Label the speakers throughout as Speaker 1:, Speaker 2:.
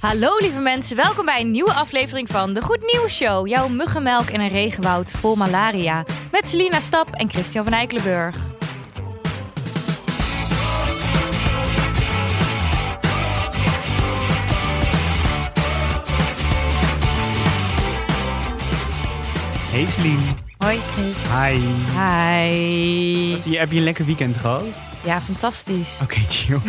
Speaker 1: Hallo lieve mensen, welkom bij een nieuwe aflevering van de Goed Nieuws Show. Jouw muggenmelk in een regenwoud vol malaria. Met Selina Stap en Christian van Eikelenburg.
Speaker 2: Hey Celine.
Speaker 1: Hoi Chris.
Speaker 2: Hi.
Speaker 1: Hi.
Speaker 2: Wat- je- Heb je een lekker weekend gehad? Oké,
Speaker 1: Ja, fantastisch.
Speaker 2: chill.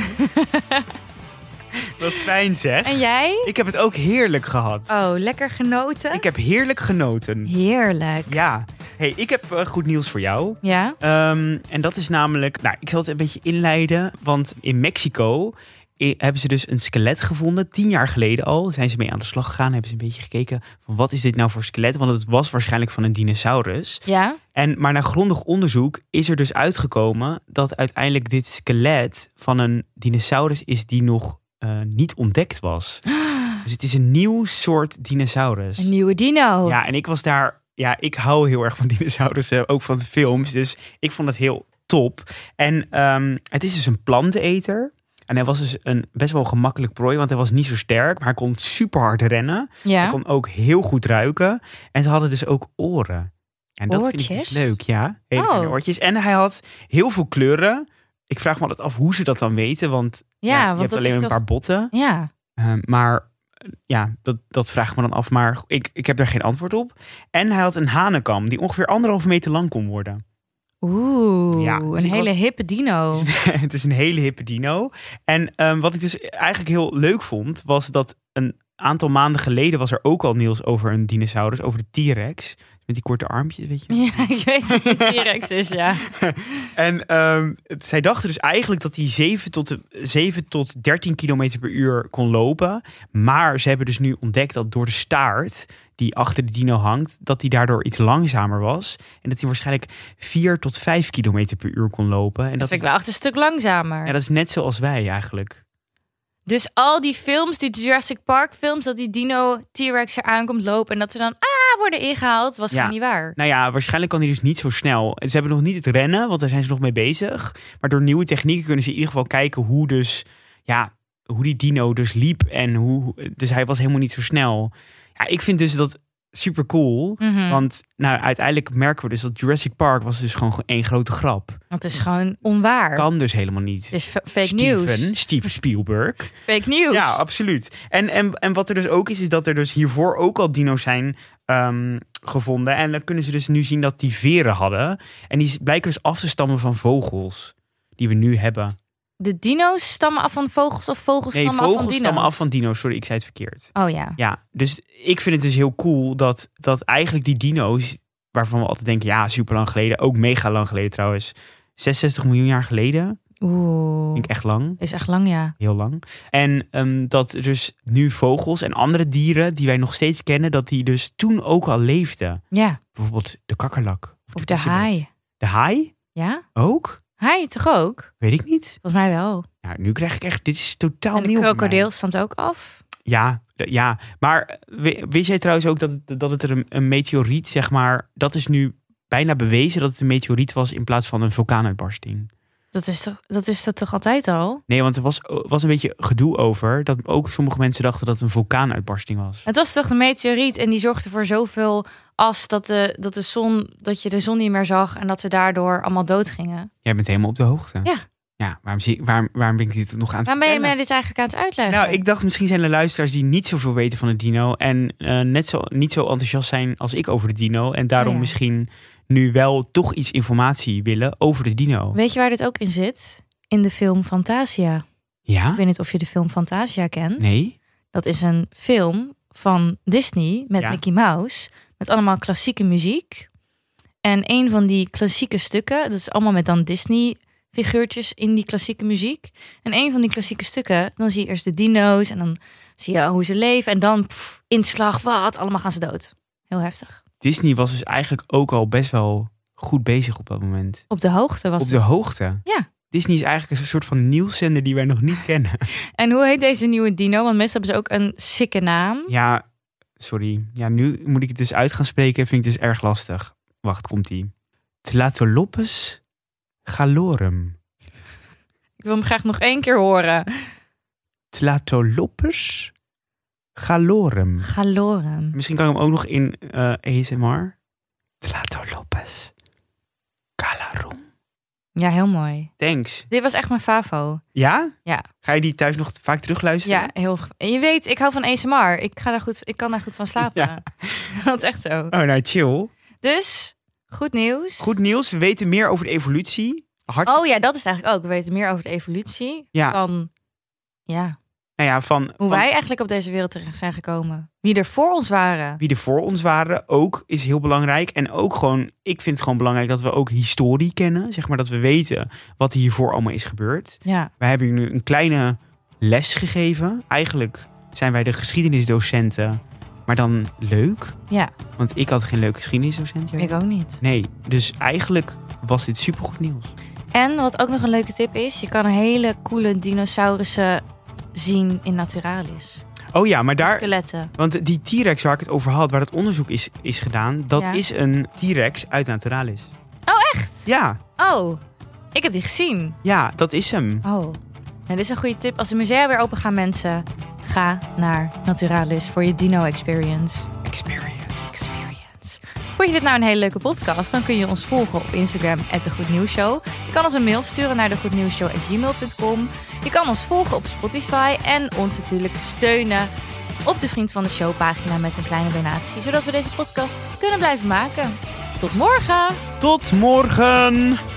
Speaker 2: Wat fijn zeg.
Speaker 1: En jij?
Speaker 2: Ik heb het ook heerlijk gehad.
Speaker 1: Oh, lekker genoten?
Speaker 2: Ik heb heerlijk genoten.
Speaker 1: Heerlijk.
Speaker 2: Ja. Hey, ik heb eh, goed nieuws voor jou.
Speaker 1: Ja?
Speaker 2: Ehm, en dat is namelijk, nou, ik zal het een beetje inleiden, want in Mexico i- hebben ze dus een skelet gevonden. Tien jaar geleden al zijn ze mee aan de slag gegaan, hebben ze een beetje gekeken van wat is dit nou voor skelet, want het was waarschijnlijk van een dinosaurus.
Speaker 1: Ja?
Speaker 2: En, maar na grondig onderzoek is er dus uitgekomen dat uiteindelijk dit skelet van een dinosaurus is die nog eh, niet ontdekt was. Dus het is een nieuw soort dinosaurus.
Speaker 1: Een nieuwe dino.
Speaker 2: Ja, en ik was daar. Ja, ik hou heel erg van dinosaurussen, ook van de films. Dus ik vond het heel top. En ehm, het is dus een planteneter. En hij was dus een best wel gemakkelijk prooi, want hij was niet zo sterk, maar hij kon super hard rennen.
Speaker 1: Ja?
Speaker 2: Hij kon ook heel goed ruiken. En ze hadden dus ook oren. En dat vind ik
Speaker 1: Oortjes?
Speaker 2: dus leuk, ja. Hele fijne
Speaker 1: Oh.
Speaker 2: oortjes. En hij had heel veel kleuren. Ik vraag me altijd af hoe ze dat dan weten. Want
Speaker 1: Ja,
Speaker 2: ja,
Speaker 1: want
Speaker 2: je hebt
Speaker 1: dat
Speaker 2: alleen
Speaker 1: is
Speaker 2: een
Speaker 1: toch-
Speaker 2: paar botten.
Speaker 1: Ja.
Speaker 2: Eh, maar eh, ja, dat, dat vraag ik me dan af. Maar ik, ik heb daar geen antwoord op. En hij had een hanenkam die ongeveer anderhalve meter lang kon worden.
Speaker 1: Oeh,
Speaker 2: Ja, dus
Speaker 1: een
Speaker 2: ik
Speaker 1: hele
Speaker 2: was-
Speaker 1: hippe dino.
Speaker 2: het is een hele hippe dino. En ehm, wat ik dus eigenlijk heel leuk vond, was dat een aantal maanden geleden was er ook al nieuws over een dinosaurus, over de T-Rex. Met die korte armpjes, weet je.
Speaker 1: Ja, ik weet dat het een T-Rex is, ja.
Speaker 2: En ehm, het- zij dachten dus eigenlijk dat hij 7 tot, de, 7 tot 13 kilometer per uur kon lopen. Maar ze hebben dus nu ontdekt dat door de staart die achter de dino hangt, dat hij daardoor iets langzamer was. En dat hij waarschijnlijk 4 tot 5 kilometer per uur kon lopen. En
Speaker 1: Dat
Speaker 2: dat,
Speaker 1: vind ik
Speaker 2: is,
Speaker 1: wel echt een stuk langzamer.
Speaker 2: ja, dat is net zoals wij eigenlijk.
Speaker 1: Dus al die films, die Jurassic Park films, dat die dino T-Rex er aankomt lopen en dat ze dan ah worden ingehaald, was
Speaker 2: Ja.
Speaker 1: gewoon niet waar.
Speaker 2: Nou ja, waarschijnlijk kan hij dus niet zo snel. Ze hebben nog niet het rennen, want daar zijn ze nog mee bezig. Maar door nieuwe technieken kunnen ze in ieder geval kijken hoe dus, ja, hoe die dino dus liep en hoe, dus hij was helemaal niet zo snel. Ja, ik vind dus dat super cool.
Speaker 1: Mhm. Want,
Speaker 2: Want nou, uiteindelijk merken we dus dat Jurassic Park was dus gewoon één grote grap.
Speaker 1: het is gewoon onwaar.
Speaker 2: Kan dus helemaal niet.
Speaker 1: Het is fa- fake
Speaker 2: Steven,
Speaker 1: news.
Speaker 2: Steven Spielberg.
Speaker 1: Fake news.
Speaker 2: Ja, absoluut. En, en, en wat er dus ook is, is dat er dus hiervoor ook al dino's zijn ehm, gevonden. En dan kunnen ze dus nu zien dat die veren hadden. En die blijken dus af te stammen van vogels. Die we nu hebben.
Speaker 1: De dino's stammen af van vogels of vogels
Speaker 2: Nee,
Speaker 1: stammen af van
Speaker 2: vogels
Speaker 1: dino's?
Speaker 2: stammen af van dino's. Sorry, ik zei het verkeerd.
Speaker 1: Oh ja.
Speaker 2: Ja, dus ik vind het dus heel cool dat, dat eigenlijk die dino's... waarvan we altijd denken, ja, super lang geleden. Ook mega lang geleden trouwens. 66 miljoen jaar geleden.
Speaker 1: Oeh.
Speaker 2: Vind ik echt lang.
Speaker 1: Is echt lang, ja.
Speaker 2: heel lang. En ehm, dat er dus nu vogels en andere dieren die wij nog steeds kennen, dat die dus toen ook al leefden.
Speaker 1: Ja.
Speaker 2: Bijvoorbeeld de kakkerlak.
Speaker 1: Of de
Speaker 2: kikkersebed.
Speaker 1: haai.
Speaker 2: De haai?
Speaker 1: Ja?
Speaker 2: Ook?
Speaker 1: Haai toch ook?
Speaker 2: Weet ik niet.
Speaker 1: Volgens mij wel.
Speaker 2: Nou, nu krijg ik echt, dit is totaal
Speaker 1: en de
Speaker 2: nieuw voor mij.
Speaker 1: krokodil stamt ook af.
Speaker 2: Ja, de- ja. Maar wi- wist jij trouwens ook dat, het- dat het er een, een meteoriet, zeg maar, dat is nu bijna bewezen dat het een meteoriet was in plaats van een vulkaanuitbarsting.
Speaker 1: Dat is toch, dat, is dat toch altijd al?
Speaker 2: Nee, want er was, was een beetje gedoe over dat ook sommige mensen dachten dat het een vulkaanuitbarsting was.
Speaker 1: Het was toch een meteoriet en die zorgde voor zoveel as dat, de, dat, de zon, dat je de zon niet meer zag en dat ze daardoor allemaal doodgingen.
Speaker 2: Jij bent helemaal op de hoogte.
Speaker 1: Ja.
Speaker 2: Ja, waarom, zie, waarom, waarom ben ik dit nog aan het
Speaker 1: Waarom ben je
Speaker 2: vertellen?
Speaker 1: mij dit eigenlijk aan het uitleggen?
Speaker 2: Nou, ik dacht misschien zijn er luisteraars die niet zoveel weten van de dino. En eh, net zo, niet zo enthousiast zijn als ik over de dino. En daarom
Speaker 1: Oh ja.
Speaker 2: misschien nu wel toch iets informatie willen over de dino.
Speaker 1: Weet je waar dit ook in zit? In de film Fantasia. Ik
Speaker 2: Ja?
Speaker 1: weet niet of je de film Fantasia kent.
Speaker 2: Nee?
Speaker 1: Dat is een film van Disney met
Speaker 2: Ja.
Speaker 1: Mickey Mouse. Met allemaal klassieke muziek. En een van die klassieke stukken, dat is allemaal met dan Disney figuurtjes in die klassieke muziek. En een van die klassieke stukken, dan zie je eerst de dino's en dan zie je hoe ze leven. En dan pff, inslag, wat, allemaal gaan ze dood. Heel heftig.
Speaker 2: Disney was dus eigenlijk ook al best wel goed bezig op dat moment.
Speaker 1: Op de hoogte was
Speaker 2: Op de hoogte.
Speaker 1: Ja.
Speaker 2: Disney is eigenlijk een soort van nieuwszender die wij nog niet kennen.
Speaker 1: En hoe heet deze nieuwe dino? Want meestal hebben ze ook een sikke naam.
Speaker 2: Ja, sorry. Ja, nu moet ik het dus uit gaan spreken. Vind ik dus erg lastig. Wacht, komt-ie. Tlatolopes galorum.
Speaker 1: Ik wil hem graag nog één keer horen.
Speaker 2: Tlatolopes Galorem.
Speaker 1: Galoren.
Speaker 2: Misschien kan ik hem ook nog in eh ASMR. Tlato Lopez. Calarum.
Speaker 1: Ja, heel mooi.
Speaker 2: Thanks.
Speaker 1: Dit was echt mijn favo.
Speaker 2: Ja?
Speaker 1: Ja.
Speaker 2: Ga je die thuis nog vaak terugluisteren?
Speaker 1: Ja, heel. En je weet, ik hou van ASMR. Ik, ga daar goed, ik kan daar goed van slapen.
Speaker 2: Ja.
Speaker 1: Dat is echt zo.
Speaker 2: Oh, nou chill.
Speaker 1: Dus, goed nieuws.
Speaker 2: Goed nieuws. We weten meer over de evolutie. Hart...
Speaker 1: Oh ja, dat is het eigenlijk ook. We weten meer over de evolutie
Speaker 2: ja.
Speaker 1: van ja,
Speaker 2: Nou ja, van,
Speaker 1: hoe
Speaker 2: van
Speaker 1: wij eigenlijk op deze wereld terecht zijn gekomen. Wie er voor ons waren.
Speaker 2: wie er voor ons waren ook is heel belangrijk. En ook gewoon, ik vind het gewoon belangrijk dat we ook historie kennen. Zeg maar dat we weten wat hiervoor allemaal is gebeurd.
Speaker 1: Ja,
Speaker 2: Wij hebben u nu een kleine les gegeven. Eigenlijk zijn wij de geschiedenisdocenten, maar dan leuk.
Speaker 1: Ja.
Speaker 2: Want ik had geen leuke geschiedenisdocent. jij
Speaker 1: ik
Speaker 2: wel?
Speaker 1: ook niet.
Speaker 2: Nee, dus eigenlijk was dit supergoed nieuws.
Speaker 1: En wat ook nog een leuke tip is, je kan een hele coole dinosaurussen zien in Naturalis.
Speaker 2: Oh ja, maar daar...
Speaker 1: Skeletten.
Speaker 2: Want die T-Rex waar ik het over had, waar het onderzoek is, is gedaan... dat
Speaker 1: Ja.
Speaker 2: is een T-Rex uit Naturalis.
Speaker 1: Oh, echt?
Speaker 2: Ja,
Speaker 1: Oh, ik heb die gezien.
Speaker 2: ja, dat is hem.
Speaker 1: Oh, nou, dit is een goede tip. Als de musea weer open gaan, mensen, ga naar Naturalis voor je dino-experience.
Speaker 2: Experience.
Speaker 1: experience. Vond je dit nou een hele leuke podcast? Dan kun je ons volgen op Instagram, de Goed Nieuws Show. Je kan ons een mail sturen naar de Je kan ons volgen op Spotify en ons natuurlijk steunen op de Vriend van de Show pagina met een kleine donatie, zodat we deze podcast kunnen blijven maken. Tot morgen!
Speaker 2: Tot morgen!